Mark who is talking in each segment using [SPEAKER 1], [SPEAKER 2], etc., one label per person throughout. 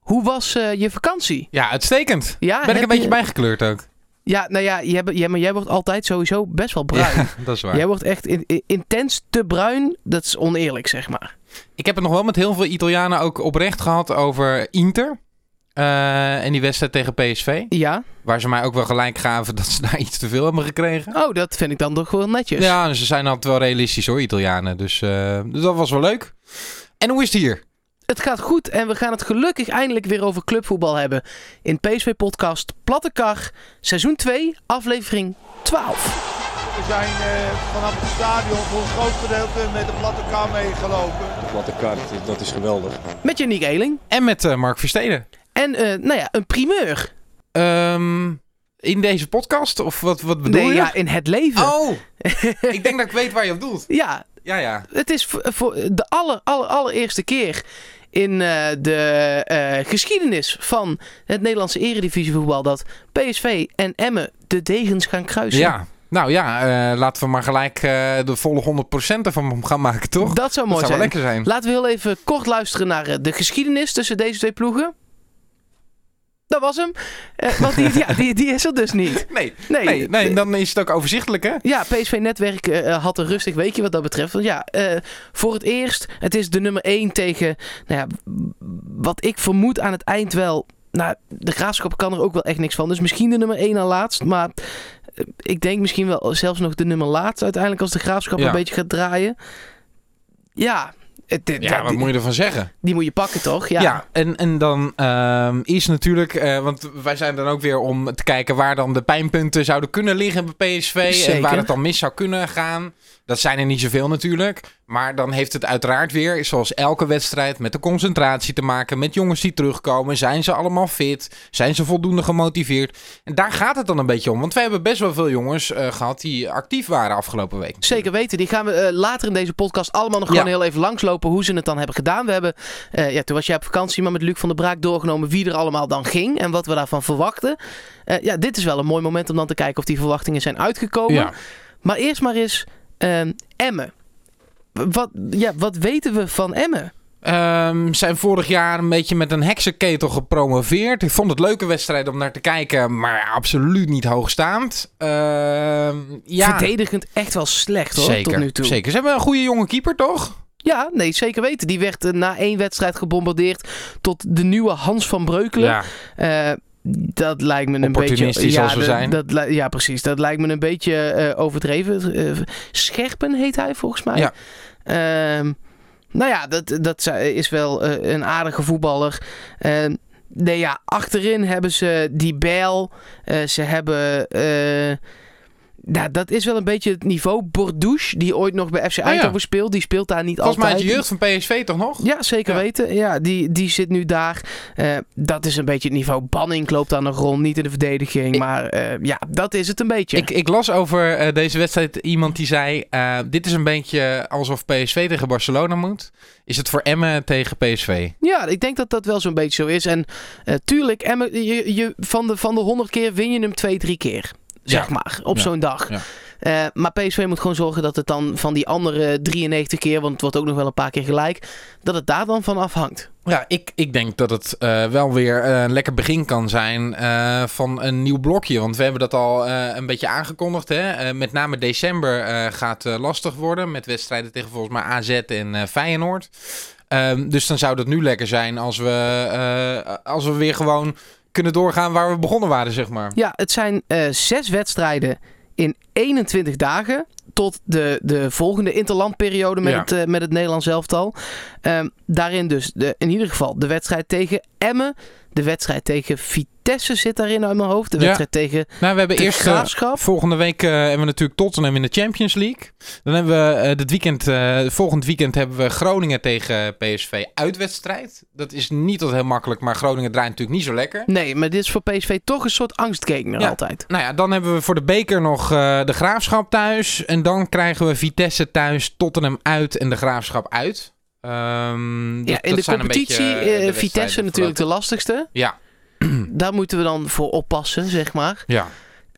[SPEAKER 1] Hoe was eh, je vakantie?
[SPEAKER 2] Ja, uitstekend.
[SPEAKER 1] Ja,
[SPEAKER 2] ben
[SPEAKER 1] Ah,
[SPEAKER 2] ik
[SPEAKER 1] heb
[SPEAKER 2] een beetje
[SPEAKER 1] je-
[SPEAKER 2] bijgekleurd ook.
[SPEAKER 1] Ja, nou ja, jij, be- jij- maar jij wordt altijd sowieso best wel bruin.
[SPEAKER 2] Ja, dat is waar.
[SPEAKER 1] Jij wordt echt in- in- intens te bruin. Dat is oneerlijk, zeg maar.
[SPEAKER 2] Ik heb het nog wel met heel veel Italianen ook oprecht gehad over Inter. eh, en die wedstrijd tegen PSV.
[SPEAKER 1] Ja.
[SPEAKER 2] Waar ze mij ook wel gelijk gaven dat ze daar iets te veel hebben gekregen.
[SPEAKER 1] Oh, dat vind ik dan toch wel netjes.
[SPEAKER 2] Ja, ze zijn altijd wel realistisch hoor, Italianen. Dus, eh, dus dat was wel leuk. En hoe is het hier?
[SPEAKER 1] Het gaat goed en we gaan het gelukkig eindelijk weer over clubvoetbal hebben. In PSV Podcast Platte Kar, seizoen 2, aflevering 12.
[SPEAKER 3] We zijn eh, vanaf het stadion voor een groot gedeelte met de platte kar meegelopen.
[SPEAKER 4] Platte kaart, dat is geweldig.
[SPEAKER 1] Met Janiek Eeling.
[SPEAKER 2] En met eh, Mark Versteden.
[SPEAKER 1] En, eh, nou ja, een primeur.
[SPEAKER 2] Ehm, in deze podcast? Of wat, wat bedoel
[SPEAKER 1] nee,
[SPEAKER 2] je?
[SPEAKER 1] ja, in het leven.
[SPEAKER 2] Oh, ik denk dat ik weet waar je op doelt.
[SPEAKER 1] Ja,
[SPEAKER 2] Ja, ja.
[SPEAKER 1] het is voor, voor de aller, aller, allereerste keer in eh, de eh, geschiedenis van het Nederlandse eredivisievoetbal dat PSV en Emmen de degens gaan kruisen.
[SPEAKER 2] Ja, nou ja, eh, laten we maar gelijk eh, de volle 100% ervan m- gaan maken, toch?
[SPEAKER 1] Dat zou
[SPEAKER 2] Dat
[SPEAKER 1] mooi
[SPEAKER 2] zou wel
[SPEAKER 1] zijn.
[SPEAKER 2] lekker zijn.
[SPEAKER 1] Laten we heel even kort luisteren naar eh, de geschiedenis tussen deze twee ploegen. Dat was hem. Eh, want die, ja, die, die is er dus niet.
[SPEAKER 2] Nee,
[SPEAKER 1] Nee.
[SPEAKER 2] nee, nee, dan is het ook overzichtelijk, hè?
[SPEAKER 1] Ja, PSV-netwerk eh, had een rustig weekje wat dat betreft. Want ja, eh, voor het eerst, het is de nummer 1 tegen, nou ja, wat ik vermoed aan het eind wel. Nou, de graafschap kan er ook wel echt niks van. Dus misschien de nummer 1 aan laatst. Maar eh, ik denk misschien wel zelfs nog de nummer laatst uiteindelijk als de graafschap
[SPEAKER 2] Ja.
[SPEAKER 1] een beetje gaat draaien. Ja, het, het-
[SPEAKER 2] Ja, wat
[SPEAKER 1] die,
[SPEAKER 2] moet je ervan zeggen?
[SPEAKER 1] die moet je pakken toch? Ja.
[SPEAKER 2] Ja, en, en dan ehm, is natuurlijk, eh, want wij zijn dan ook weer om te kijken waar dan de pijnpunten zouden kunnen liggen bij PSV. En
[SPEAKER 1] Zeker.
[SPEAKER 2] waar het dan mis zou kunnen gaan. Dat zijn er niet zoveel natuurlijk. Maar dan heeft het uiteraard weer, zoals elke wedstrijd, met de concentratie te maken. Met jongens die terugkomen. Zijn ze allemaal fit? Zijn ze voldoende gemotiveerd? En daar gaat het dan een beetje om. Want wij hebben best wel veel jongens eh, gehad die actief waren afgelopen week.
[SPEAKER 1] Zeker weten. Die gaan we eh, later in deze podcast allemaal nog gewoon
[SPEAKER 2] Ja.
[SPEAKER 1] heel even langslopen hoe ze het dan hebben gedaan. We hebben, eh, ja, toen was jij op vakantie, maar met Luc van der Braak doorgenomen wie er allemaal dan ging en wat we daarvan verwachten. Eh, ja, dit is wel een mooi moment om dan te kijken of die verwachtingen zijn uitgekomen.
[SPEAKER 2] Ja.
[SPEAKER 1] Maar eerst maar eens ehm, Emmen. Wat, ja, wat weten we van Emmen?
[SPEAKER 2] Ehm, zijn vorig jaar een beetje met een heksenketel gepromoveerd. Ik vond het leuke wedstrijd om naar te kijken, maar absoluut niet hoogstaand. Ehm ja,
[SPEAKER 1] Verdedigend echt wel slecht hoor,
[SPEAKER 2] zeker,
[SPEAKER 1] tot nu toe.
[SPEAKER 2] zeker. Ze hebben een goede jonge keeper, toch?
[SPEAKER 1] Ja, nee, zeker weten. Die werd eh, na één wedstrijd gebombardeerd tot de nieuwe Hans van Breukelen. Eh, dat lijkt me een beetje.
[SPEAKER 2] Opportunistisch als we
[SPEAKER 1] dat-
[SPEAKER 2] zijn.
[SPEAKER 1] Dat, li- ja, precies. Dat lijkt me een beetje eh, overdreven. Eh, Scherpen heet hij volgens mij.
[SPEAKER 2] Ja.
[SPEAKER 1] Ehm, nou ja, dat, dat zij- is wel eh, een aardige voetballer. Ehm, nee, ja, achterin hebben ze die Bijl. Eh, ze hebben. eh, nou, dat is wel een beetje het niveau. Bordouche, die ooit nog bij FC
[SPEAKER 2] Nou ja.
[SPEAKER 1] Eindhoven speelt, die speelt daar niet
[SPEAKER 2] Volgens mij
[SPEAKER 1] altijd.
[SPEAKER 2] uit de jeugd van PSV toch nog?
[SPEAKER 1] Ja, zeker
[SPEAKER 2] Ja.
[SPEAKER 1] weten. Ja, die, die zit nu daar. Eh, dat is een beetje het niveau. Banning loopt daar nog rond, niet in de verdediging. maar eh, ja, dat is het een beetje.
[SPEAKER 2] Ik, ik las over eh, deze wedstrijd iemand die zei: eh, Dit is een beetje alsof PSV tegen Barcelona moet. Is het voor Emmen tegen PSV?
[SPEAKER 1] ja, ik denk dat dat wel zo'n beetje zo is. En eh, tuurlijk, Emmen, je, je, van, de, van de 100 keer win je hem twee, drie keer. Zeg
[SPEAKER 2] Ja.
[SPEAKER 1] maar, op
[SPEAKER 2] Ja.
[SPEAKER 1] zo'n dag.
[SPEAKER 2] Ja.
[SPEAKER 1] Eh, maar PSV moet gewoon zorgen dat het dan van die andere 93 keer, want het wordt ook nog wel een paar keer gelijk, dat het daar dan van afhangt.
[SPEAKER 2] Ja, ik, ik denk dat het eh, wel weer eh, een lekker begin kan zijn eh, van een nieuw blokje. Want we hebben dat al eh, een beetje aangekondigd. Hè? Eh, met name december eh, gaat eh, lastig worden met wedstrijden tegen volgens mij AZ en eh, Feyenoord. Ehm, dus dan zou dat nu lekker zijn als we, eh, als we weer gewoon kunnen doorgaan waar we begonnen waren, zeg maar.
[SPEAKER 1] Ja, het zijn eh, zes wedstrijden in 21 dagen. Tot de, de volgende interlandperiode met,
[SPEAKER 2] Ja.
[SPEAKER 1] het, eh, met het Nederlands elftal. Ehm, daarin dus de, in ieder geval de wedstrijd tegen Emmen. De wedstrijd tegen Vitesse zit daarin uit mijn hoofd. De
[SPEAKER 2] Ja.
[SPEAKER 1] wedstrijd tegen
[SPEAKER 2] Nou, we hebben
[SPEAKER 1] de
[SPEAKER 2] eerst... eh,
[SPEAKER 1] Graafschap.
[SPEAKER 2] Volgende week eh, hebben we natuurlijk Tottenham in de Champions League. Dan hebben we eh, dit weekend, eh, volgend weekend hebben we Groningen tegen PSV uitwedstrijd. Dat is niet altijd heel makkelijk, maar Groningen draait natuurlijk niet zo lekker.
[SPEAKER 1] Nee, maar dit is voor PSV toch een soort angstgegner
[SPEAKER 2] Ja.
[SPEAKER 1] altijd.
[SPEAKER 2] Nou ja, dan hebben we voor de beker nog eh, de Graafschap thuis. En dan krijgen we Vitesse thuis, Tottenham uit en de Graafschap uit. Ehm, dat-
[SPEAKER 1] Ja, in
[SPEAKER 2] dat
[SPEAKER 1] de
[SPEAKER 2] zijn een
[SPEAKER 1] competitie
[SPEAKER 2] beetje, eh, de
[SPEAKER 1] eh, Vitesse
[SPEAKER 2] wedstrijden
[SPEAKER 1] natuurlijk de
[SPEAKER 2] voorlopig.
[SPEAKER 1] lastigste.
[SPEAKER 2] Ja,
[SPEAKER 1] Daar moeten we dan voor oppassen, zeg maar.
[SPEAKER 2] ja.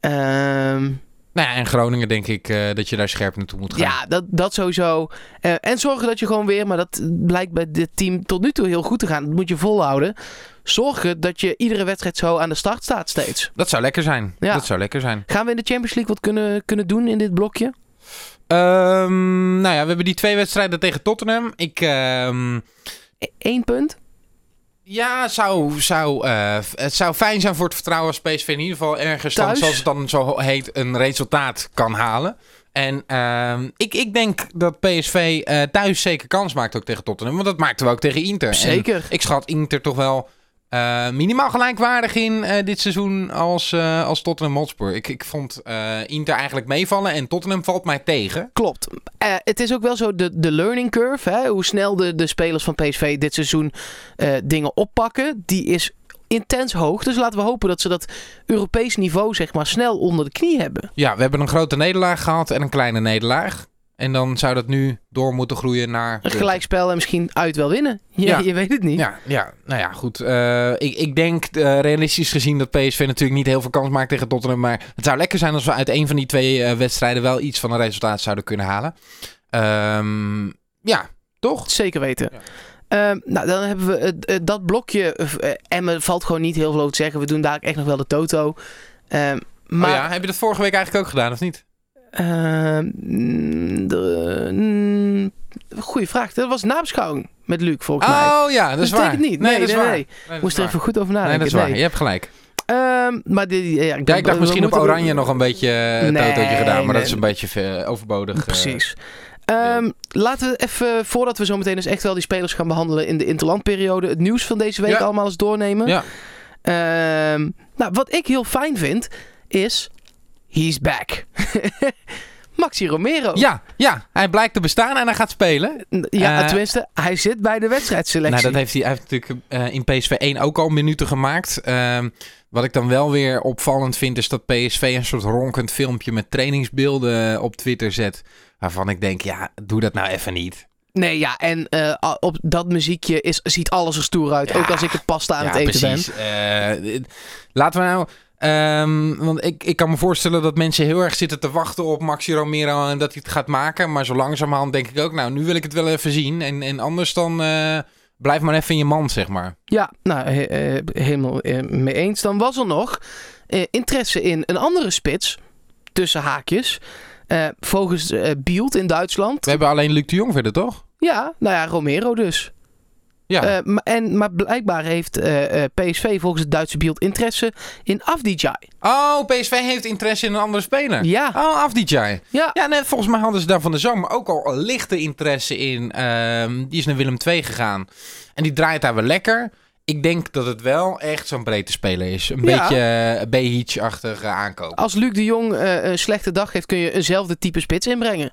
[SPEAKER 1] Ehm
[SPEAKER 2] Nou ja, en Groningen denk ik eh, dat je daar scherp naartoe moet gaan.
[SPEAKER 1] Ja, dat, dat sowieso. Eh, en zorgen dat je gewoon weer, maar dat blijkt bij dit team tot nu toe heel goed te gaan. Dat moet je volhouden. zorgen dat je iedere wedstrijd zo aan de start staat steeds.
[SPEAKER 2] Dat zou lekker zijn.
[SPEAKER 1] Ja.
[SPEAKER 2] Dat zou lekker zijn.
[SPEAKER 1] Gaan we in de Champions League wat kunnen, kunnen doen in dit blokje?
[SPEAKER 2] Ehm, nou ja, we hebben die twee wedstrijden tegen Tottenham. Ik, ehm,
[SPEAKER 1] E- Eén punt.
[SPEAKER 2] ja, zou, zou, eh, f- het zou fijn zijn voor het vertrouwen als PSV in ieder geval ergens, dan,
[SPEAKER 1] Thuis?
[SPEAKER 2] zoals het dan zo heet, een resultaat kan halen. En ehm, ik, ik denk dat PSV eh, thuis zeker kans maakt ook tegen Tottenham. Want dat maakten we ook tegen Inter. En
[SPEAKER 1] Zeker.
[SPEAKER 2] ik schat Inter toch wel eh, minimaal gelijkwaardig in eh, dit seizoen als, eh, als Tottenham Hotspur. Ik, ik vond eh, Inter eigenlijk meevallen en Tottenham valt mij tegen.
[SPEAKER 1] Klopt. Eh, het is ook wel zo de, de learning curve. Hè? Hoe snel de, de spelers van PSV dit seizoen eh, dingen oppakken. Die is intens hoog. Dus laten we hopen dat ze dat Europees niveau zeg maar snel onder de knie hebben.
[SPEAKER 2] Ja, we hebben een grote nederlaag gehad en een kleine nederlaag. En dan zou dat nu door moeten groeien naar...
[SPEAKER 1] Een gelijkspel en misschien uit wel winnen. Je,
[SPEAKER 2] Ja.
[SPEAKER 1] je weet het niet.
[SPEAKER 2] Ja, ja, nou ja, goed. Eh, ik, ik denk eh, realistisch gezien dat PSV natuurlijk niet heel veel kans maakt tegen Tottenham. Maar het zou lekker zijn als we uit een van die twee eh, wedstrijden wel iets van een resultaat zouden kunnen halen. Ehm, ja, toch? Oh
[SPEAKER 1] Zeker weten.
[SPEAKER 2] Ja.
[SPEAKER 1] Ehm, nou, dan hebben we eh, eh, dat blokje. eh, eh, Emmen valt gewoon niet heel veel over te zeggen. We doen daar echt nog wel de toto.
[SPEAKER 2] Oh
[SPEAKER 1] Ehm, maar
[SPEAKER 2] Maar ja, heb je dat vorige week eigenlijk ook gedaan, of niet?
[SPEAKER 1] Ehm, mm, de- mm, goeie vraag. Dat was nabeschouwing met Luc, volgens mij.
[SPEAKER 2] Oh ja, dat is
[SPEAKER 1] dat
[SPEAKER 2] waar.
[SPEAKER 1] betekent niet. Nee,
[SPEAKER 2] dat is
[SPEAKER 1] nee,
[SPEAKER 2] waar.
[SPEAKER 1] nee.
[SPEAKER 2] Nee, dat
[SPEAKER 1] Moest
[SPEAKER 2] is
[SPEAKER 1] er even goed over
[SPEAKER 2] waar.
[SPEAKER 1] nadenken.
[SPEAKER 2] Nee, dat is waar. Je hebt gelijk.
[SPEAKER 1] Ehm, maar die, ja,
[SPEAKER 2] Ja, ik dacht misschien op Oranje nog een beetje een
[SPEAKER 1] Nee,
[SPEAKER 2] totootje gedaan. Maar
[SPEAKER 1] nee.
[SPEAKER 2] dat is een beetje eh, overbodig. eh,
[SPEAKER 1] Precies. Ehm, laten we even, voordat we zo meteen dus echt wel die spelers gaan behandelen in de interlandperiode, het nieuws van deze week
[SPEAKER 2] Ja.
[SPEAKER 1] allemaal eens doornemen.
[SPEAKER 2] Ja.
[SPEAKER 1] Ehm, nou, wat ik heel fijn vind, is he's back. Maxi Romero.
[SPEAKER 2] Ja, ja, hij blijkt te bestaan en hij gaat spelen.
[SPEAKER 1] Ja,
[SPEAKER 2] Eh,
[SPEAKER 1] tenminste, hij zit bij de wedstrijdselectie.
[SPEAKER 2] Nou, dat heeft hij, hij heeft natuurlijk eh, in PSV 1 ook al minuten gemaakt. Ehm, wat ik dan wel weer opvallend vind, is dat PSV een soort ronkend filmpje met trainingsbeelden op Twitter zet. Waarvan ik denk, ja, doe dat nou even niet.
[SPEAKER 1] Nee, ja, en eh, a- op dat muziekje is, ziet alles er stoer uit. Ook als ik het pasta aan
[SPEAKER 2] ja,
[SPEAKER 1] het eten ben.
[SPEAKER 2] precies. Eh, dit- laten we nou. ehm, want ik, ik kan me voorstellen dat mensen heel erg zitten te wachten op Maxi Romero en dat hij het gaat maken. Maar zo langzamerhand denk ik ook, nou, nu wil ik het wel even zien. En, en anders dan eh, blijf maar even in je man, zeg maar.
[SPEAKER 1] Ja, nou, he- eh, helemaal eh, mee eens. Dan was er nog eh, interesse in een andere spits, tussen haakjes. Eh, volgens eh Bielt in Duitsland.
[SPEAKER 2] We hebben alleen Luc de Jong verder, toch?
[SPEAKER 1] Ja, nou ja, Romero dus.
[SPEAKER 2] Ja.
[SPEAKER 1] Eh, maar, en, maar blijkbaar heeft eh, eh, PSV volgens het Duitse Bielt interesse in Afdijai.
[SPEAKER 2] oh, PSV heeft interesse in een andere speler.
[SPEAKER 1] Ja.
[SPEAKER 2] Oh, Afdijay.
[SPEAKER 1] Ja.
[SPEAKER 2] Ja, nee, volgens mij hadden ze daar van de zomer ook al een lichte interesse in. Ehm, die is naar Willem II gegaan. En die draait daar wel lekker. Ik denk dat het wel echt zo'n breedte speler is. Een
[SPEAKER 1] Ja.
[SPEAKER 2] beetje eh, Behic-achtige aankoop.
[SPEAKER 1] Als Luc de Jong eh, een slechte dag heeft, kun je eenzelfde type spits inbrengen.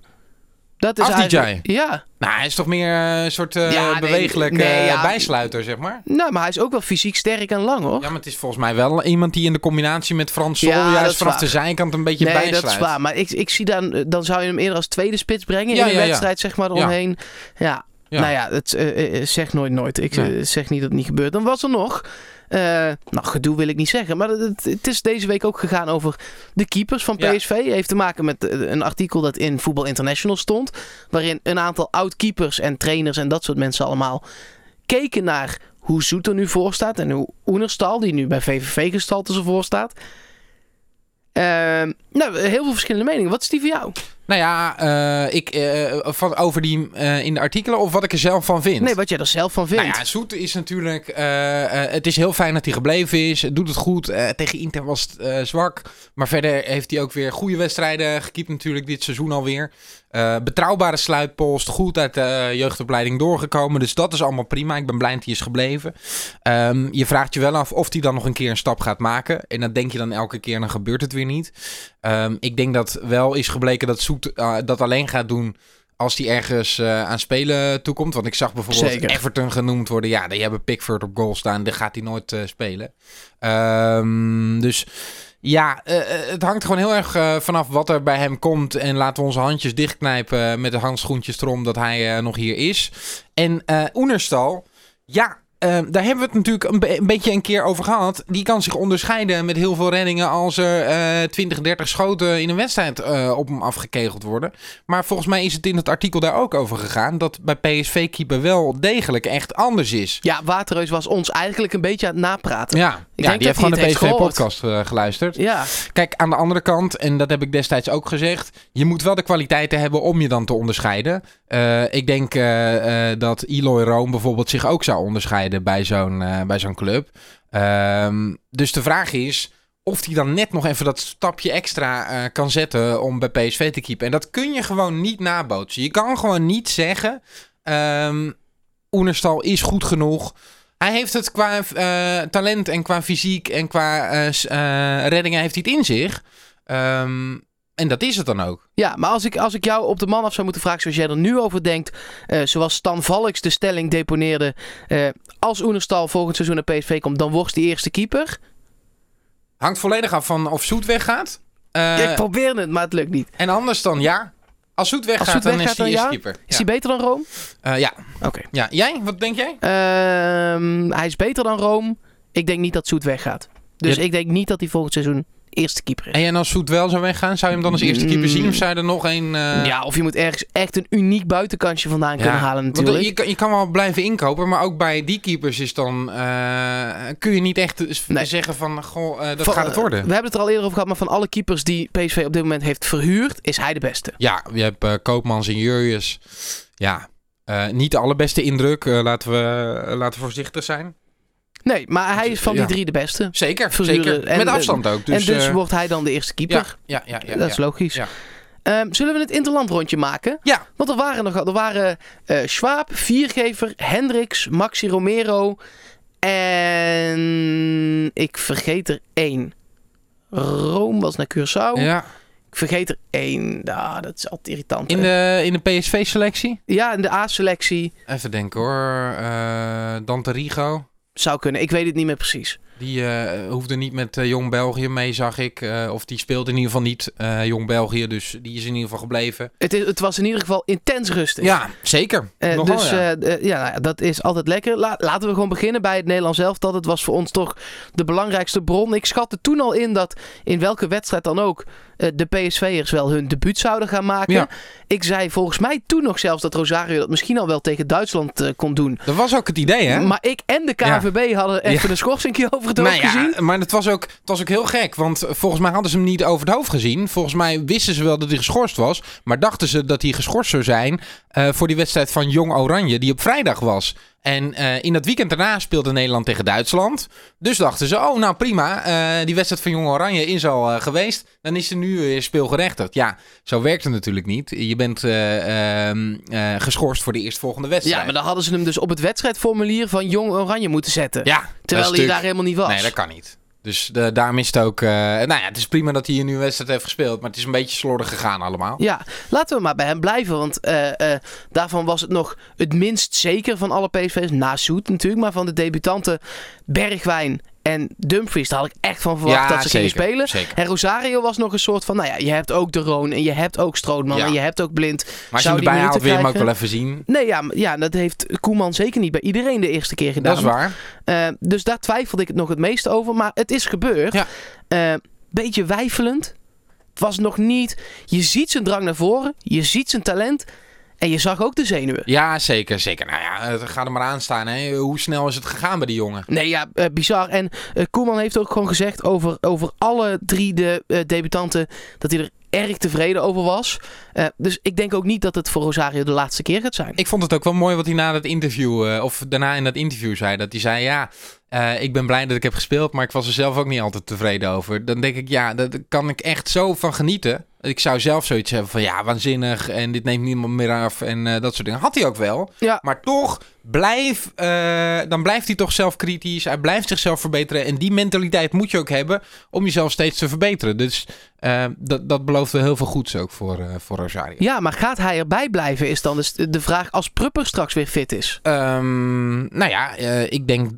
[SPEAKER 1] Dat is
[SPEAKER 2] Afdijai?
[SPEAKER 1] eigenlijk- Ja.
[SPEAKER 2] Nou, hij is toch meer eh, een soort eh
[SPEAKER 1] Ja, nee,
[SPEAKER 2] bewegelijk
[SPEAKER 1] nee,
[SPEAKER 2] eh,
[SPEAKER 1] ja.
[SPEAKER 2] bijsluiter, zeg maar.
[SPEAKER 1] Nou, maar hij is ook wel fysiek sterk en lang hoor.
[SPEAKER 2] Ja, maar het is volgens mij wel iemand die in de combinatie met Frans Sol...
[SPEAKER 1] Ja, dat
[SPEAKER 2] juist
[SPEAKER 1] is
[SPEAKER 2] vanaf
[SPEAKER 1] waar.
[SPEAKER 2] de zijkant een beetje
[SPEAKER 1] nee,
[SPEAKER 2] bijsluit.
[SPEAKER 1] dat is waar. Maar ik, ik zie dan, dan zou je hem eerder als tweede spits brengen
[SPEAKER 2] Ja,
[SPEAKER 1] in de
[SPEAKER 2] ja, ja.
[SPEAKER 1] wedstrijd, zeg maar, eromheen. Ja.
[SPEAKER 2] Ja.
[SPEAKER 1] Nou ja, het eh, eh, eh, zegt nooit nooit. Ik eh,
[SPEAKER 2] Nee.
[SPEAKER 1] zeg niet dat het niet gebeurt. Dan was er nog, eh, nou gedoe wil ik niet zeggen, maar het, het- het is deze week ook gegaan over de keepers van
[SPEAKER 2] Ja.
[SPEAKER 1] PSV. Heeft te maken met eh, een artikel dat in Voetbal International stond, waarin een aantal oud-keepers en trainers en dat soort mensen allemaal keken naar hoe Zoet er nu voor staat en hoe Oenerstal, die nu bij VVV gestald is, ervoor staat. Ehm, nou, heel veel verschillende meningen. Wat is die voor jou?
[SPEAKER 2] Nou ja, eh, ik, eh, van, over die eh, in de artikelen of wat ik er zelf van vind.
[SPEAKER 1] Nee, wat jij er zelf van vindt.
[SPEAKER 2] nou ja, Zoet is natuurlijk... eh, eh, het is heel fijn dat hij gebleven is. Het doet het goed. Eh, tegen Inter was het eh, zwak. Maar verder heeft hij ook weer goede wedstrijden gekiept natuurlijk dit seizoen alweer. Eh, betrouwbare sluitpost. Goed uit de jeugdopleiding doorgekomen. Dus dat is allemaal prima. Ik ben blij dat hij is gebleven. Ehm, je vraagt je wel af of hij dan nog een keer een stap gaat maken. En dat denk je dan elke keer en dan gebeurt het weer niet. Ehm, ik denk dat wel is gebleken dat Soet eh, dat alleen gaat doen als hij ergens eh, aan spelen toekomt. Want ik zag bijvoorbeeld
[SPEAKER 1] Zeker.
[SPEAKER 2] Everton genoemd worden. Ja, die hebben Pickford op goal staan. Daar gaat hij nooit eh, spelen. Ehm, dus ja, eh, eh, het hangt gewoon heel erg eh, vanaf wat er bij hem komt. En laten we onze handjes dichtknijpen eh, met de handschoentjes erom dat hij eh, nog hier is. En eh Oenerstal, ja, eh, daar hebben we het natuurlijk een, be- een beetje een keer over gehad. Die kan zich onderscheiden met heel veel reddingen als er eh 20, 30 schoten in een wedstrijd eh, op hem afgekegeld worden. Maar volgens mij is het in het artikel daar ook over gegaan dat bij PSV-keeper wel degelijk echt anders is.
[SPEAKER 1] Ja, Waterreus was ons eigenlijk een beetje aan het napraten.
[SPEAKER 2] Ja,
[SPEAKER 1] denk
[SPEAKER 2] ja
[SPEAKER 1] dat
[SPEAKER 2] die heeft
[SPEAKER 1] hij
[SPEAKER 2] gewoon de
[SPEAKER 1] het heeft gehoord.
[SPEAKER 2] PSV-podcast eh, geluisterd.
[SPEAKER 1] Ja,
[SPEAKER 2] Kijk, aan de andere kant, en dat heb ik destijds ook gezegd, je moet wel de kwaliteiten hebben om je dan te onderscheiden. Eh, ik denk eh, eh, dat Eloy Room bijvoorbeeld zich ook zou onderscheiden bij zo'n eh, bij zo'n club. Ehm, dus de vraag is of hij dan net nog even dat stapje extra eh, kan zetten om bij PSV te keepen. En dat kun je gewoon niet nabootsen. Je kan gewoon niet zeggen, ehm Oenerstal is goed genoeg. Hij heeft het qua eh, talent en qua fysiek en qua eh, s- eh, reddingen heeft hij het in zich. Ehm, en dat is het dan ook.
[SPEAKER 1] ja maar als ik, als ik jou op de man af zou moeten vragen zoals jij er nu over denkt. eh, zoals Stan Valks de stelling deponeerde. eh, als Oenerstal volgend seizoen naar PSV komt, dan wordt die eerste keeper.
[SPEAKER 2] Hangt volledig af van of Zoet weggaat. Eh,
[SPEAKER 1] ik probeer het, maar het lukt niet.
[SPEAKER 2] en anders dan ja. Als Zoet weggaat,
[SPEAKER 1] Als Zoet
[SPEAKER 2] dan
[SPEAKER 1] weggaat,
[SPEAKER 2] is hij
[SPEAKER 1] dan
[SPEAKER 2] eerste
[SPEAKER 1] ja?
[SPEAKER 2] keeper.
[SPEAKER 1] Is
[SPEAKER 2] Ja.
[SPEAKER 1] hij beter dan Rome?
[SPEAKER 2] Eh, ja.
[SPEAKER 1] Oké.
[SPEAKER 2] ja. Jij? Wat denk jij?
[SPEAKER 1] Ehm, hij is beter dan Rome. Ik denk niet dat Zoet weggaat. Dus
[SPEAKER 2] Ja.
[SPEAKER 1] ik denk niet dat hij volgend seizoen eerste keeper is.
[SPEAKER 2] En als Zoet wel zou weggaan, zou je hem dan als eerste keeper
[SPEAKER 1] Mm.
[SPEAKER 2] zien? Of zou je er nog een... eh,
[SPEAKER 1] ja, of je moet ergens echt een uniek buitenkansje vandaan kunnen halen
[SPEAKER 2] want
[SPEAKER 1] natuurlijk.
[SPEAKER 2] je, kan- je kan wel blijven inkopen, maar ook bij die keepers is dan, eh, kun je niet echt z-
[SPEAKER 1] Nee.
[SPEAKER 2] zeggen van, goh, eh, dat
[SPEAKER 1] Van-
[SPEAKER 2] gaat het worden.
[SPEAKER 1] We hebben het er al eerder over gehad, maar van alle keepers die PSV op dit moment heeft verhuurd, is hij de beste.
[SPEAKER 2] Ja, je hebt eh, Koopmans en Jurjes. Ja, eh, niet de allerbeste indruk. eh, laten, we, eh, laten we voorzichtig zijn.
[SPEAKER 1] Nee, maar hij is van die
[SPEAKER 2] Ja.
[SPEAKER 1] drie de beste.
[SPEAKER 2] Zeker,
[SPEAKER 1] Verzuren
[SPEAKER 2] zeker.
[SPEAKER 1] en-
[SPEAKER 2] Met afstand ook. Dus,
[SPEAKER 1] en dus
[SPEAKER 2] eh,
[SPEAKER 1] wordt hij dan de eerste
[SPEAKER 2] ja,
[SPEAKER 1] keeper.
[SPEAKER 2] ja, ja, ja,
[SPEAKER 1] dat is
[SPEAKER 2] ja.
[SPEAKER 1] logisch. Ehm, zullen we het interlandrondje maken?
[SPEAKER 2] Ja.
[SPEAKER 1] Want er waren nog er waren eh Schwab, Viergever, Hendricks, Maxi Romero en ik vergeet er één. Rome was naar Curaçao.
[SPEAKER 2] Ja.
[SPEAKER 1] Ik vergeet er één. Ah, dat is altijd irritant.
[SPEAKER 2] In,
[SPEAKER 1] hè.
[SPEAKER 2] de, in de PSV-selectie?
[SPEAKER 1] Ja, in de A-selectie
[SPEAKER 2] Even denken hoor. Eh Dante Rigo.
[SPEAKER 1] zou kunnen. Ik weet het niet meer precies.
[SPEAKER 2] Die eh, hoefde niet met eh, Jong België mee, zag ik. Eh, of die speelde in ieder geval niet eh, Jong België. Dus die is in ieder geval gebleven.
[SPEAKER 1] Het, is, het was in ieder geval intens rustig.
[SPEAKER 2] Ja, zeker.
[SPEAKER 1] Eh,
[SPEAKER 2] Nogal,
[SPEAKER 1] dus
[SPEAKER 2] ja.
[SPEAKER 1] ja, ja nou ja, dat is altijd lekker. La- laten we gewoon beginnen bij het Nederlands elftal. Dat was voor ons toch de belangrijkste bron. Ik schatte toen al in dat in welke wedstrijd dan ook eh, de PSV'ers wel hun debuut zouden gaan maken.
[SPEAKER 2] Ja.
[SPEAKER 1] Ik zei volgens mij toen nog zelfs dat Rosario dat misschien al wel tegen Duitsland eh, kon doen.
[SPEAKER 2] Dat was ook het idee, hè?
[SPEAKER 1] Maar ik en de
[SPEAKER 2] Ja.
[SPEAKER 1] KVB hadden even een schorsingje over het hoofd
[SPEAKER 2] Nou ja,
[SPEAKER 1] gezien.
[SPEAKER 2] maar het was, ook, het was ook heel gek. Want eh, volgens mij hadden ze hem niet over het hoofd gezien. Volgens mij wisten ze wel dat hij geschorst was. Maar dachten ze dat hij geschorst zou zijn eh, voor die wedstrijd van Jong Oranje, die op vrijdag was. En eh, in dat weekend daarna speelde Nederland tegen Duitsland. Dus dachten ze, oh nou prima, eh, die wedstrijd van Jong Oranje is al eh, geweest. Dan is ze nu weer speelgerechtigd. Ja, zo werkt het natuurlijk niet. Je bent eh, ehm, eh, geschorst voor de eerstvolgende wedstrijd.
[SPEAKER 1] Ja, maar dan hadden ze hem dus op het wedstrijdformulier van Jong Oranje moeten zetten.
[SPEAKER 2] Ja, dat is
[SPEAKER 1] terwijl hij
[SPEAKER 2] natuurlijk-
[SPEAKER 1] daar helemaal niet was.
[SPEAKER 2] Nee, dat kan niet. Dus eh, daarom is het ook... eh, nou ja, het is prima dat hij hier nu een wedstrijd heeft gespeeld. Maar het is een beetje slordig gegaan allemaal.
[SPEAKER 1] Ja, laten we maar bij hem blijven. Want eh, eh, daarvan was het nog het minst zeker van alle PSV's. Na Soet natuurlijk, maar van de debutanten Bergwijn en Dumfries. Daar had ik echt van verwacht
[SPEAKER 2] Ja,
[SPEAKER 1] dat ze
[SPEAKER 2] zeker,
[SPEAKER 1] gingen spelen.
[SPEAKER 2] zeker.
[SPEAKER 1] En Rosario was nog een soort van, nou ja, je hebt ook De Roon en je hebt ook Strootman
[SPEAKER 2] Ja.
[SPEAKER 1] en je hebt ook Blind.
[SPEAKER 2] Maar als je
[SPEAKER 1] Zou
[SPEAKER 2] hem
[SPEAKER 1] die
[SPEAKER 2] erbij haalt, wil je hem ook wel
[SPEAKER 1] krijgen?
[SPEAKER 2] even zien.
[SPEAKER 1] Nee, ja, maar- ja, dat heeft Koeman zeker niet bij iedereen de eerste keer gedaan.
[SPEAKER 2] Dat is waar.
[SPEAKER 1] Eh, dus daar twijfelde ik het nog het meest over. Maar het is gebeurd.
[SPEAKER 2] Ja.
[SPEAKER 1] Eh, beetje wijfelend. Het was nog niet... Je ziet zijn drang naar voren. Je ziet zijn talent. En je zag ook de zenuwen.
[SPEAKER 2] Ja, zeker, zeker. Nou ja, het gaat er maar aan staan. Hè. Hoe snel is het gegaan bij die jongen?
[SPEAKER 1] Nee, ja, eh, bizar. En eh, Koeman heeft ook gewoon gezegd over, over alle drie de eh, debutanten... dat hij er erg tevreden over was. Eh, dus ik denk ook niet dat het voor Rosario de laatste keer gaat zijn.
[SPEAKER 2] Ik vond het ook wel mooi wat hij na dat interview... eh, of daarna in dat interview zei. Dat hij zei, ja... eh, ik ben blij dat ik heb gespeeld, maar ik was er zelf ook niet altijd tevreden over. Dan denk ik, ja, daar daar kan ik echt zo van genieten. Ik zou zelf zoiets hebben van, ja, waanzinnig en dit neemt niemand meer af en eh, dat soort dingen. Had hij ook wel.
[SPEAKER 1] Ja,
[SPEAKER 2] Maar toch, blijf, eh, dan blijft hij toch zelfkritisch. Hij blijft zichzelf verbeteren. En die mentaliteit moet je ook hebben om jezelf steeds te verbeteren. Dus eh, dat, dat belooft wel heel veel goeds ook voor, eh, voor Rosario.
[SPEAKER 1] ja, maar gaat hij erbij blijven is dan dus de vraag als Prupper straks weer fit is.
[SPEAKER 2] Ehm, nou ja, eh, ik denk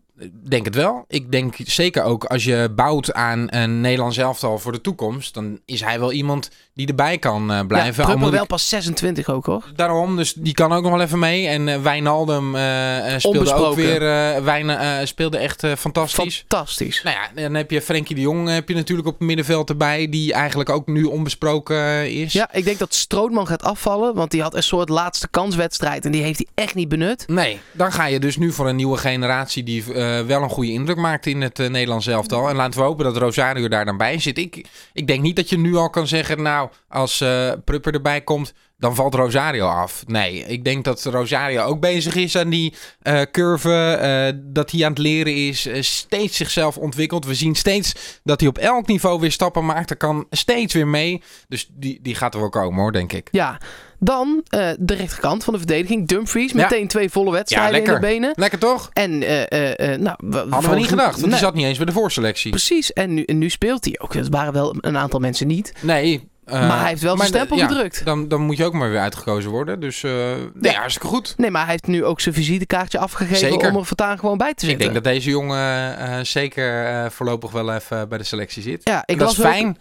[SPEAKER 2] Denk het wel. Ik denk zeker ook als je bouwt aan een Nederlands elftal voor de toekomst, dan is hij wel iemand die erbij kan eh,
[SPEAKER 1] Ja,
[SPEAKER 2] blijven. Al
[SPEAKER 1] Prupper
[SPEAKER 2] moet
[SPEAKER 1] wel
[SPEAKER 2] ik-
[SPEAKER 1] pas 26 ook hoor.
[SPEAKER 2] Daarom, dus die kan ook nog wel even mee. En eh, Wijnaldum eh, eh, speelde ook
[SPEAKER 1] Onbesproken.
[SPEAKER 2] weer. eh Wijn, eh, speelde echt eh, fantastisch.
[SPEAKER 1] Fantastisch.
[SPEAKER 2] Nou ja, dan heb je Frenkie de Jong eh, heb je natuurlijk op het middenveld erbij. Die eigenlijk ook nu onbesproken eh, is.
[SPEAKER 1] Ja, ik denk dat Strootman gaat afvallen, want die had een soort laatste kanswedstrijd en die heeft hij echt niet benut.
[SPEAKER 2] Nee, dan ga je dus nu voor een nieuwe generatie die eh, wel een goede indruk maakt in het eh, Nederlands elftal. En laten we hopen dat Rosario daar dan bij zit. Ik, ik denk niet dat je nu al kan zeggen, nou, als eh, Prupper erbij komt, dan valt Rosario af. Nee, ik denk dat Rosario ook bezig is aan die eh, curve, eh, dat hij aan het leren is, eh, steeds zichzelf ontwikkelt. We zien steeds dat hij op elk niveau weer stappen maakt. Er kan steeds weer mee. Dus die, die gaat er wel komen hoor, denk ik.
[SPEAKER 1] Ja, dan eh, de rechterkant van de verdediging. Dumfries,
[SPEAKER 2] Ja.
[SPEAKER 1] meteen twee volle wedstrijden in de benen.
[SPEAKER 2] Lekker toch?
[SPEAKER 1] En eh, eh, eh, nou, we-
[SPEAKER 2] Hadden we
[SPEAKER 1] volgens-
[SPEAKER 2] niet gedacht, want
[SPEAKER 1] Nee,
[SPEAKER 2] die zat niet eens bij de voorselectie.
[SPEAKER 1] Precies, en nu, en nu speelt hij ook. Het waren wel een aantal mensen niet.
[SPEAKER 2] Nee. eh,
[SPEAKER 1] Maar hij heeft wel zijn
[SPEAKER 2] de-
[SPEAKER 1] stempel gedrukt.
[SPEAKER 2] Dan, dan moet je ook maar weer uitgekozen worden. Dus eh nee,
[SPEAKER 1] Ja. Dus
[SPEAKER 2] hartstikke goed.
[SPEAKER 1] Nee, maar hij heeft nu ook zijn visitekaartje afgegeven
[SPEAKER 2] Zeker.
[SPEAKER 1] om er voortaan gewoon bij te
[SPEAKER 2] Ik
[SPEAKER 1] zitten.
[SPEAKER 2] denk dat deze jongen eh, zeker eh, voorlopig wel even bij de selectie zit.
[SPEAKER 1] ja, ik
[SPEAKER 2] En dat is
[SPEAKER 1] las ook-
[SPEAKER 2] fijn.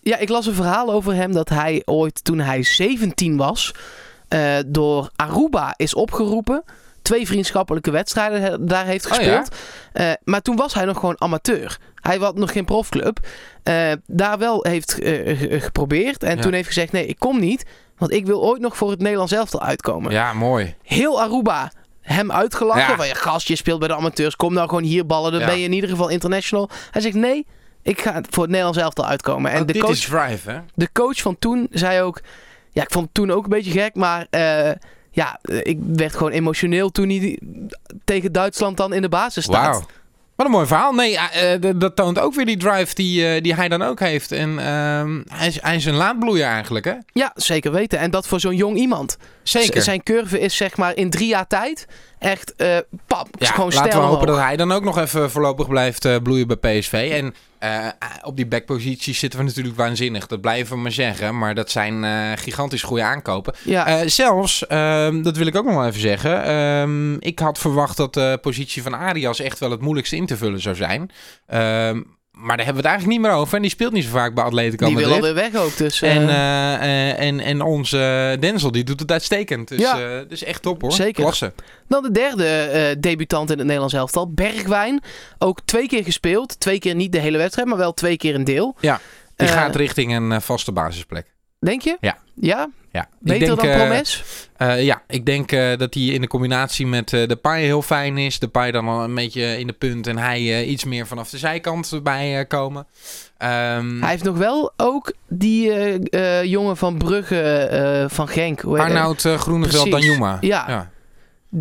[SPEAKER 1] ja, ik las een verhaal over hem dat hij ooit, toen hij 17 was, eh, door Aruba is opgeroepen. Twee vriendschappelijke wedstrijden he- daar heeft
[SPEAKER 2] Oh ja.
[SPEAKER 1] gespeeld. Eh, maar toen was hij nog gewoon amateur. Hij had nog geen profclub. Eh, daar wel heeft eh, ge- geprobeerd. En
[SPEAKER 2] Ja.
[SPEAKER 1] toen heeft gezegd, nee, ik kom niet. Want ik wil ooit nog voor het Nederlands elftal uitkomen.
[SPEAKER 2] Ja, mooi.
[SPEAKER 1] heel Aruba hem uitgelachen.
[SPEAKER 2] Ja.
[SPEAKER 1] Van je gast, je speelt bij de amateurs. Kom nou gewoon hier ballen. Dan
[SPEAKER 2] Ja.
[SPEAKER 1] ben je in ieder geval international. Hij zegt nee, ik ga voor het Nederlands elftal uitkomen. En
[SPEAKER 2] Want
[SPEAKER 1] de
[SPEAKER 2] Oh, dit
[SPEAKER 1] coach,
[SPEAKER 2] is Drive, hè?
[SPEAKER 1] de coach van toen zei ook... Ja, ik vond het toen ook een beetje gek. Maar eh, ja, eh, ik werd gewoon emotioneel toen hij tegen Duitsland dan in de basis staat.
[SPEAKER 2] Wauw. Wat een mooi verhaal. Nee, eh, eh, d- dat toont ook weer die drive die, eh, die hij dan ook heeft. En ehm, hij, is, hij is een laadbloeier eigenlijk, hè?
[SPEAKER 1] Ja, zeker weten. En dat voor zo'n jong iemand. Z-
[SPEAKER 2] Zeker.
[SPEAKER 1] Zijn curve is zeg maar in drie jaar tijd echt eh pap,
[SPEAKER 2] Ja,
[SPEAKER 1] gewoon
[SPEAKER 2] laten we
[SPEAKER 1] stijl
[SPEAKER 2] hopen
[SPEAKER 1] omhoog.
[SPEAKER 2] dat hij dan ook nog even voorlopig blijft eh, bloeien bij PSV. En eh, op die backposities zitten we natuurlijk waanzinnig. Dat blijven we maar zeggen. Maar dat zijn eh, gigantisch goede aankopen.
[SPEAKER 1] Ja.
[SPEAKER 2] Eh, zelfs, ehm, dat wil ik ook nog wel even zeggen. ehm, ik had verwacht dat de positie van Arias echt wel het moeilijkste in te vullen zou zijn. Ehm, maar daar hebben we het eigenlijk niet meer over. En die speelt niet zo vaak bij Atletico
[SPEAKER 1] Die wil
[SPEAKER 2] Madrid.
[SPEAKER 1] alweer weg ook. Dus,
[SPEAKER 2] En,
[SPEAKER 1] eh,
[SPEAKER 2] eh, eh, en, en onze eh, Denzel, die doet het uitstekend. Dus,
[SPEAKER 1] Ja.
[SPEAKER 2] eh, dus echt top hoor.
[SPEAKER 1] Zeker.
[SPEAKER 2] Klasse.
[SPEAKER 1] Dan de derde eh, debutant in het Nederlands elftal, Bergwijn. Ook twee keer gespeeld. Twee keer niet de hele wedstrijd, maar wel twee keer een deel.
[SPEAKER 2] Die
[SPEAKER 1] Eh,
[SPEAKER 2] gaat richting een eh, vaste basisplek.
[SPEAKER 1] Denk je?
[SPEAKER 2] Ja.
[SPEAKER 1] Ja?
[SPEAKER 2] Ja,
[SPEAKER 1] Beter dan
[SPEAKER 2] eh,
[SPEAKER 1] Promes?
[SPEAKER 2] eh, ja, ik denk eh, dat hij in de combinatie met eh de paai heel fijn is. De paai dan al een beetje in de punt en hij eh, iets meer vanaf de zijkant bij eh, komen. Ehm,
[SPEAKER 1] Hij heeft nog wel ook die eh, eh, jongen van Brugge, eh, van Genk. hoe heet hij?
[SPEAKER 2] Arnoud eh, Groeneveld
[SPEAKER 1] Precies.
[SPEAKER 2] Danjuma.
[SPEAKER 1] Ja.
[SPEAKER 2] ja.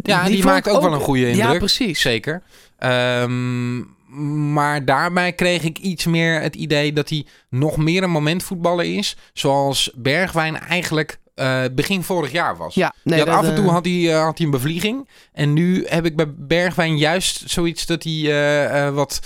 [SPEAKER 2] Ja, die,
[SPEAKER 1] vond
[SPEAKER 2] maakt
[SPEAKER 1] ik
[SPEAKER 2] ook, wel een goede indruk.
[SPEAKER 1] Ja, precies.
[SPEAKER 2] Zeker. Ehm, maar daarbij kreeg ik iets meer het idee dat hij nog meer een momentvoetballer is. Zoals Bergwijn eigenlijk eh, begin vorig jaar was.
[SPEAKER 1] Ja, nee,
[SPEAKER 2] Die had
[SPEAKER 1] dat,
[SPEAKER 2] af en toe
[SPEAKER 1] eh,
[SPEAKER 2] had hij, eh, had hij een bevlieging. En nu heb ik bij Bergwijn juist zoiets dat hij eh, eh, wat,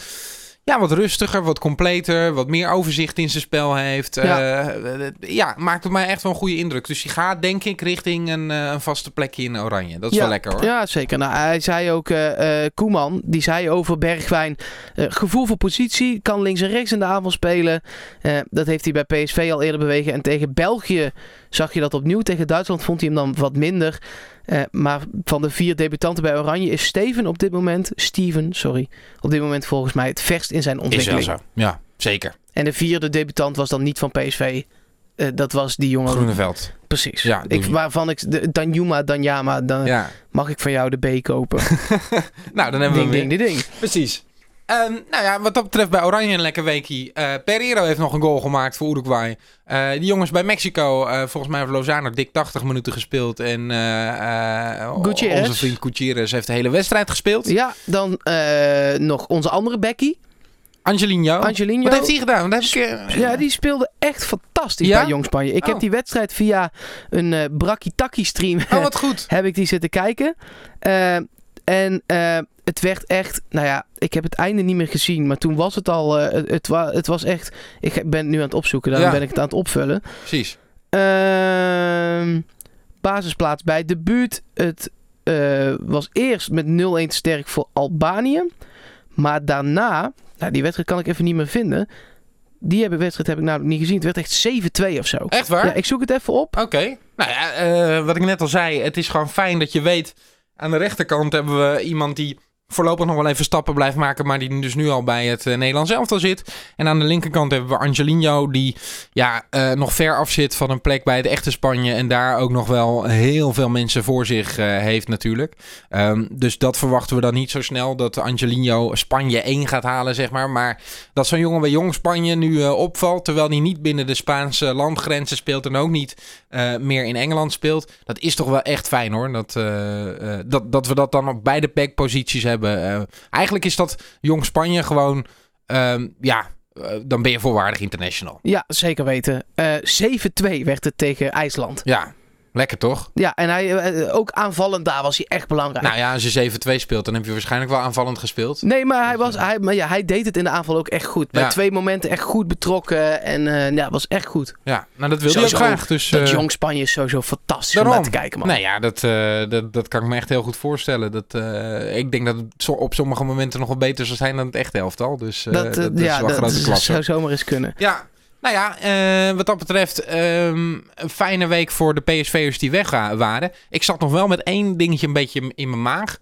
[SPEAKER 2] ja, wat rustiger, wat completer, wat meer overzicht in zijn spel heeft.
[SPEAKER 1] Ja.
[SPEAKER 2] Ja, ja maakt op mij echt wel een goede indruk. Dus hij gaat denk ik richting een, eh, een vaste plekje in Oranje. Dat is
[SPEAKER 1] ja,
[SPEAKER 2] wel lekker hoor.
[SPEAKER 1] Ja, zeker. Nou, hij zei ook, eh, eh, Koeman, die zei over Bergwijn... eh, gevoel voor positie, kan links en rechts in de aanval spelen. Eh, dat heeft hij bij PSV al eerder bewegen. En tegen België zag je dat opnieuw. Tegen Duitsland vond hij hem dan wat minder. Eh, maar van de vier debutanten bij Oranje is Steven op dit moment... Steven, sorry. Op dit moment volgens mij het verst in zijn ontwikkeling.
[SPEAKER 2] Ja, zeker.
[SPEAKER 1] En de vierde debutant was dan niet van PSV... Eh, dat was die jongen.
[SPEAKER 2] Groeneveld.
[SPEAKER 1] Precies.
[SPEAKER 2] Ja,
[SPEAKER 1] ik,
[SPEAKER 2] die-
[SPEAKER 1] waarvan ik. de- Danjuma, Danjama. Dan,
[SPEAKER 2] Ja.
[SPEAKER 1] Mag ik van jou de B kopen?
[SPEAKER 2] Nou, dan hebben
[SPEAKER 1] ding,
[SPEAKER 2] we hem
[SPEAKER 1] ding,
[SPEAKER 2] weer.
[SPEAKER 1] ding, ding.
[SPEAKER 4] Precies.
[SPEAKER 2] Ehm, nou ja, wat dat betreft bij Oranje een lekker weekie. Eh Pereiro heeft nog een goal gemaakt voor Uruguay. Eh, die jongens bij Mexico, eh, volgens mij heeft Lozano dik 80 minuten gespeeld. En eh, eh,
[SPEAKER 1] Gutierrez.
[SPEAKER 2] onze vriend Gutierrez heeft de hele wedstrijd gespeeld.
[SPEAKER 1] Ja, dan eh, nog onze andere Becky,
[SPEAKER 2] Angelino.
[SPEAKER 1] Angelino.
[SPEAKER 2] Oh, Wat heeft hij gedaan? Want daar heb ik, eh,
[SPEAKER 1] Ja, die speelde echt fantastisch
[SPEAKER 2] Ja?
[SPEAKER 1] bij Jong Spanje. Ik heb
[SPEAKER 2] Oh.
[SPEAKER 1] die wedstrijd via een eh Brakkie-Takkie stream
[SPEAKER 2] Oh, wat goed.
[SPEAKER 1] heb ik die zitten kijken. Eh, en eh, het werd echt, nou ja, ik heb het einde niet meer gezien, maar toen was het al, eh, het, het, wa- het was echt, ik ben het nu aan het opzoeken, daarom
[SPEAKER 2] Ja.
[SPEAKER 1] ben ik het aan het opvullen.
[SPEAKER 2] Precies.
[SPEAKER 1] Ehm, basisplaats bij debuut. Het eh, was eerst met 0-1 te sterk voor Albanië. Maar daarna, nou, die wedstrijd kan ik even niet meer vinden. Die hebben- wedstrijd heb ik namelijk niet gezien. Het werd echt 7-2 of zo.
[SPEAKER 2] Echt waar?
[SPEAKER 1] Ja, ik zoek het even op.
[SPEAKER 2] Oké. Nou ja, eh, wat ik net al zei, het is gewoon fijn dat je weet... aan de rechterkant hebben we iemand die voorlopig nog wel even stappen blijft maken... maar die dus nu al bij het eh, Nederlands elftal zit. En aan de linkerkant hebben we Angelino... die ja, eh, nog ver af zit van een plek bij het echte Spanje... en daar ook nog wel heel veel mensen voor zich eh, heeft natuurlijk. Ehm, dus dat verwachten we dan niet zo snel... dat Angelino Spanje 1 gaat halen, zeg maar. Maar dat zo'n jongen bij Jong Spanje nu eh, opvalt... terwijl hij niet binnen de Spaanse landgrenzen speelt... en ook niet eh, meer in Engeland speelt. Dat is toch wel echt fijn hoor. Dat, eh, eh, dat, dat we dat dan op beide backposities hebben. Eh, eigenlijk is dat Jong Spanje gewoon. ehm, ja, eh, dan ben je voorwaardig international.
[SPEAKER 1] Ja, zeker weten. Eh, 7-2 werd het tegen IJsland.
[SPEAKER 2] Ja, lekker toch?
[SPEAKER 1] Ja, en hij, eh, ook aanvallend daar was hij echt belangrijk.
[SPEAKER 2] Nou ja, als je 7-2 speelt, dan heb je waarschijnlijk wel aanvallend gespeeld.
[SPEAKER 1] Nee, maar, hij, was, hij, maar ja, hij deed het in de aanval ook echt goed. Bij
[SPEAKER 2] dus, eh, Ja.
[SPEAKER 1] twee momenten echt goed betrokken. En eh ja, was echt goed.
[SPEAKER 2] Ja, nou dat wil je ook
[SPEAKER 1] Sowieso
[SPEAKER 2] graag. Dus,
[SPEAKER 1] dat
[SPEAKER 2] eh,
[SPEAKER 1] Jong Spanje is sowieso fantastisch om
[SPEAKER 2] daarom.
[SPEAKER 1] naar te kijken, man.
[SPEAKER 2] Nou ja, dat, eh, dat, dat kan ik me echt heel goed voorstellen. Dat, eh, ik denk dat het zo- op sommige momenten nog wel beter zal zijn dan het echte elftal. Dus eh,
[SPEAKER 1] dat,
[SPEAKER 2] dat,
[SPEAKER 1] eh,
[SPEAKER 2] is
[SPEAKER 1] ja,
[SPEAKER 2] wel
[SPEAKER 1] dat
[SPEAKER 2] grote
[SPEAKER 1] is- dus,
[SPEAKER 2] klasse.
[SPEAKER 1] zou zomaar eens kunnen.
[SPEAKER 2] Ja, nou ja, eh, wat dat betreft ehm, een fijne week voor de PSV'ers die weg wa- waren. Ik zat nog wel met één dingetje een beetje in mijn maag.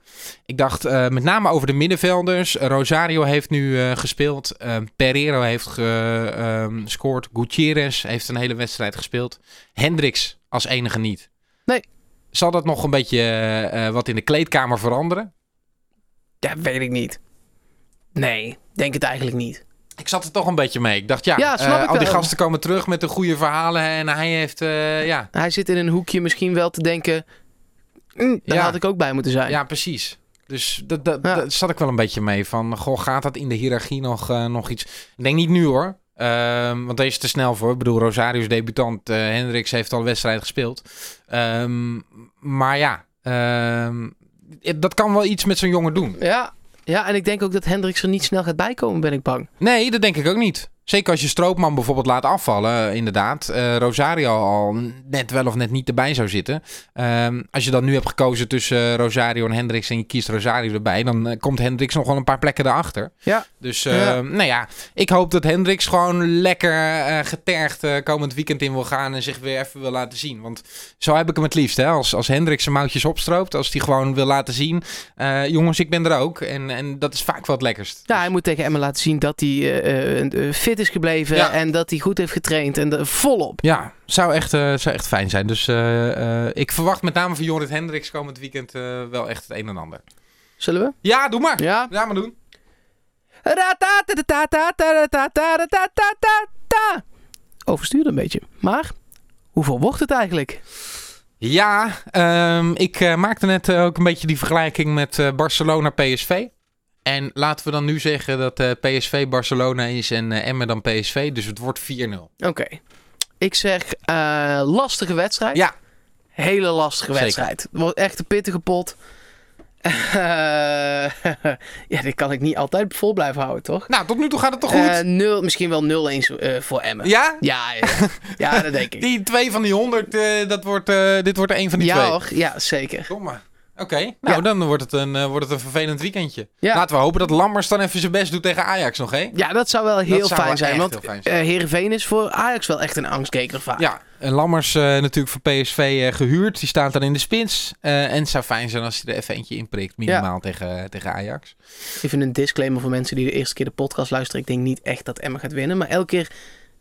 [SPEAKER 2] Ik dacht eh, met name over de middenvelders. Rosario heeft nu eh, gespeeld. Eh, Pereiro heeft ehm, gescoord. Gutierrez heeft een hele wedstrijd gespeeld. Hendricks als enige niet.
[SPEAKER 1] Nee.
[SPEAKER 2] Zal dat nog een beetje eh, eh, wat in de kleedkamer veranderen?
[SPEAKER 1] Ja, weet ik niet. Nee, denk het eigenlijk niet.
[SPEAKER 2] Ik zat er toch een beetje mee. Ik dacht, ja,
[SPEAKER 1] Ja, snap
[SPEAKER 2] eh,
[SPEAKER 1] ik
[SPEAKER 2] al die
[SPEAKER 1] wel.
[SPEAKER 2] gasten komen terug met de goede verhalen. En hij heeft, eh, ja,
[SPEAKER 1] Hij zit in een hoekje misschien wel te denken... "Mm, daar
[SPEAKER 2] Ja.
[SPEAKER 1] had ik ook bij moeten zijn.
[SPEAKER 2] Ja, precies. Dus dat, dat,
[SPEAKER 1] Ja.
[SPEAKER 2] dat zat ik wel een beetje mee van, goh, gaat dat in de hiërarchie nog, eh, nog iets? Ik denk niet nu hoor, Ehm, want deze is te snel voor. Ik bedoel, Rosario is debutant, eh, Hendricks heeft al een wedstrijd gespeeld. Ehm, maar ja, ehm, het- dat kan wel iets met zo'n jongen doen.
[SPEAKER 1] Ja. ja, en ik denk ook dat Hendricks er niet snel gaat bijkomen, ben ik bang.
[SPEAKER 2] Nee, dat denk ik ook niet. Zeker als je Stroopman bijvoorbeeld laat afvallen, eh, inderdaad. Eh, Rosario al net wel of net niet erbij zou zitten. Ehm, als je dan nu hebt gekozen tussen eh, Rosario en Hendricks en je kiest Rosario erbij, dan eh, komt Hendricks nog wel een paar plekken erachter.
[SPEAKER 1] Ja.
[SPEAKER 2] Dus eh,
[SPEAKER 1] Ja.
[SPEAKER 2] nou ja, ik hoop dat Hendricks gewoon lekker eh, getergd eh, komend weekend in wil gaan en zich weer even wil laten zien. Want zo heb ik hem het liefst. Hè? Als, als Hendricks zijn mouwtjes opstroopt, als hij gewoon wil laten zien, eh, jongens, ik ben er ook. En, en dat is vaak wel het lekkerst.
[SPEAKER 1] Ja, hij moet tegen Emma laten zien dat hij eh, eh, eh, fit is gebleven
[SPEAKER 2] Ja.
[SPEAKER 1] en dat hij goed heeft getraind en de- volop.
[SPEAKER 2] Ja, zou echt, eh, zou echt fijn zijn. Dus eh, eh, ik verwacht met name van Jorrit Hendricks komend weekend eh, wel echt het een en ander.
[SPEAKER 1] Zullen we?
[SPEAKER 2] Ja, doe maar. Ja,
[SPEAKER 1] Ja.
[SPEAKER 2] maar doen.
[SPEAKER 1] Ratatatatatatatatatatata. Overstuurde een beetje. Maar hoeveel wordt het eigenlijk?
[SPEAKER 2] Ja, ehm, ik eh, maakte net eh, ook een beetje die vergelijking met eh, Barcelona-PSV. En laten we dan nu zeggen dat eh, PSV Barcelona is en eh, Emmen dan PSV. Dus het wordt 4-0.
[SPEAKER 1] Oké. Ik zeg eh, lastige wedstrijd.
[SPEAKER 2] Ja.
[SPEAKER 1] Hele lastige
[SPEAKER 2] Zeker.
[SPEAKER 1] wedstrijd. Het wordt echt een pittige pot. Eh, ja, dit kan ik niet altijd vol blijven houden, toch?
[SPEAKER 2] Nou, tot nu toe gaat het toch goed?
[SPEAKER 1] Eh, nul, misschien wel 0-1 eh, voor Emmen.
[SPEAKER 2] ja?
[SPEAKER 1] Ja, ja, ja, dat denk ik.
[SPEAKER 2] Die twee van die 100, eh, dat wordt, eh, dit wordt er één van die
[SPEAKER 1] ja
[SPEAKER 2] twee.
[SPEAKER 1] hoor, ja zeker.
[SPEAKER 2] Kom maar. Oké, nou
[SPEAKER 1] Ja.
[SPEAKER 2] dan wordt het, een, eh, wordt het een vervelend weekendje.
[SPEAKER 1] Ja.
[SPEAKER 2] Laten we hopen dat Lammers dan even zijn best doet tegen Ajax nog, hè?
[SPEAKER 1] Ja, dat zou wel heel
[SPEAKER 2] zou
[SPEAKER 1] fijn
[SPEAKER 2] wel
[SPEAKER 1] zijn.
[SPEAKER 2] echt
[SPEAKER 1] Want
[SPEAKER 2] heel fijn
[SPEAKER 1] eh
[SPEAKER 2] zijn.
[SPEAKER 1] Heerenveen is voor Ajax wel echt een angstkeker vaak.
[SPEAKER 2] Ja, en Lammers eh, natuurlijk voor PSV eh, gehuurd. Die staat dan in de spits. Eh, en het zou fijn zijn als hij er even eentje inprikt, minimaal tegen, tegen Ajax.
[SPEAKER 1] Even een disclaimer voor mensen die de eerste keer de podcast luisteren. Ik denk niet echt dat Emma gaat winnen. Maar elke keer,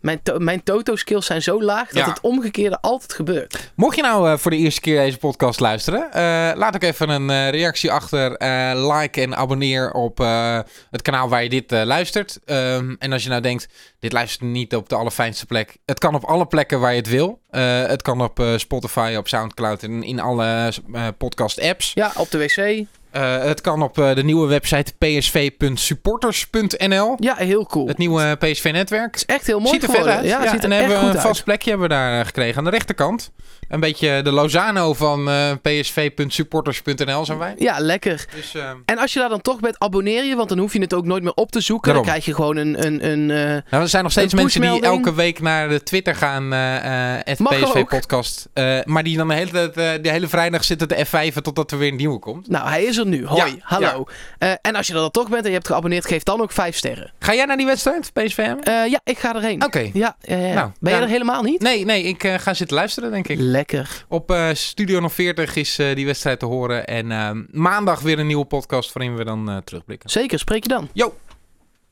[SPEAKER 1] mijn, to- mijn toto-skills zijn zo laag dat
[SPEAKER 2] Ja.
[SPEAKER 1] het omgekeerde altijd gebeurt.
[SPEAKER 2] Mocht je nou eh, voor de eerste keer deze podcast luisteren, eh, laat ook even een eh, reactie achter. Eh, like en abonneer op eh, het kanaal waar je dit eh, luistert. Ehm, en als je nou denkt, dit luistert niet op de allerfijnste plek. Het kan op alle plekken waar je het wil. Eh, het kan op eh, Spotify, op Soundcloud en in alle eh, podcast-apps.
[SPEAKER 1] Ja, op de wc.
[SPEAKER 2] Eh, het kan op eh, de nieuwe website psv.supporters.nl.
[SPEAKER 1] Ja, heel cool.
[SPEAKER 2] Het
[SPEAKER 1] Het
[SPEAKER 2] nieuwe eh, PSV-netwerk.
[SPEAKER 1] is echt heel mooi
[SPEAKER 2] Ziet er vet
[SPEAKER 1] geworden.
[SPEAKER 2] uit.
[SPEAKER 1] Ja, het ziet er
[SPEAKER 2] en
[SPEAKER 1] echt
[SPEAKER 2] hebben we
[SPEAKER 1] goed
[SPEAKER 2] een
[SPEAKER 1] uit.
[SPEAKER 2] vast plekje hebben we daar eh, gekregen aan de rechterkant. Eh, Een beetje de Lozano van eh, psv.supporters.nl zijn wij.
[SPEAKER 1] Ja, lekker.
[SPEAKER 2] Dus eh,
[SPEAKER 1] En als je daar dan toch bent, abonneer je, want dan hoef je het ook nooit meer op te zoeken.
[SPEAKER 2] Daarom.
[SPEAKER 1] Dan krijg je gewoon een. een, een eh,
[SPEAKER 2] nou, er zijn nog steeds
[SPEAKER 1] Een
[SPEAKER 2] mensen die
[SPEAKER 1] pushmelding.
[SPEAKER 2] elke week naar de Twitter gaan, eh eh
[SPEAKER 1] Mag ook.
[SPEAKER 2] PSV podcast. Eh, maar die dan de hele, tijd, eh, de hele vrijdag zitten te F5 totdat er weer een nieuwe komt.
[SPEAKER 1] nou, hij is er nu. Hoi,
[SPEAKER 2] Ja,
[SPEAKER 1] hallo. Eh, en als je er dan toch bent en je hebt geabonneerd, geef dan ook vijf sterren.
[SPEAKER 2] Ga jij naar die wedstrijd, PSV?
[SPEAKER 1] Eh, ja, ik ga erheen.
[SPEAKER 2] Oké.
[SPEAKER 1] Ja, eh,
[SPEAKER 2] Nou,
[SPEAKER 1] ben je
[SPEAKER 2] dan-
[SPEAKER 1] er helemaal niet?
[SPEAKER 2] Nee, nee, ik eh, ga zitten luisteren, denk ik.
[SPEAKER 1] Lekker.
[SPEAKER 2] Op eh, Studio nog 40 is eh, die ehm, wedstrijd te horen. En eh, maandag weer een nieuwe podcast waarin we dan eh, terugblikken.
[SPEAKER 1] Zeker, spreek je dan.
[SPEAKER 2] Yo!